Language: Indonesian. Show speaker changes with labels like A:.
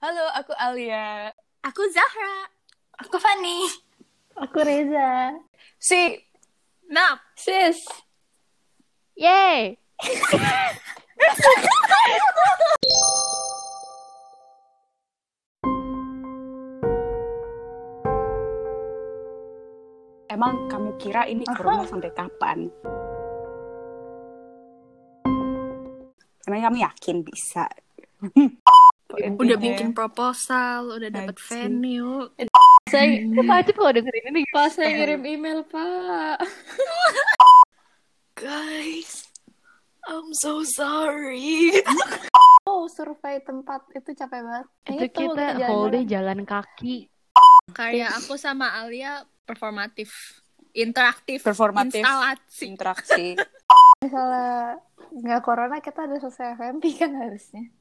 A: Halo, aku Alia.
B: Aku Zahra.
C: Aku Fanny.
D: Aku Reza.
A: Si.
B: Nap.
C: Sis.
D: Yeay.
A: Emang kamu kira ini corona sampai kapan? Emang kamu yakin bisa?
B: Udah
A: ya.
B: bikin proposal, udah dapat
A: Anjing.
B: venue.
D: Saya wajib kalau dengerin ini.
C: Pak, saya kirim email, Pak.
B: Guys, I'm so sorry.
C: Oh, survei tempat itu capek banget.
D: Itu
C: Ingat tuh waktu
D: kita
C: jalan-jalan.
D: holiday jalan kaki.
B: Karya aku sama Alia performatif, interaktif,
A: Performatif.
B: instalasi.
A: Interaksi.
C: Misalnya nggak corona, kita udah selesai FMP kan harusnya.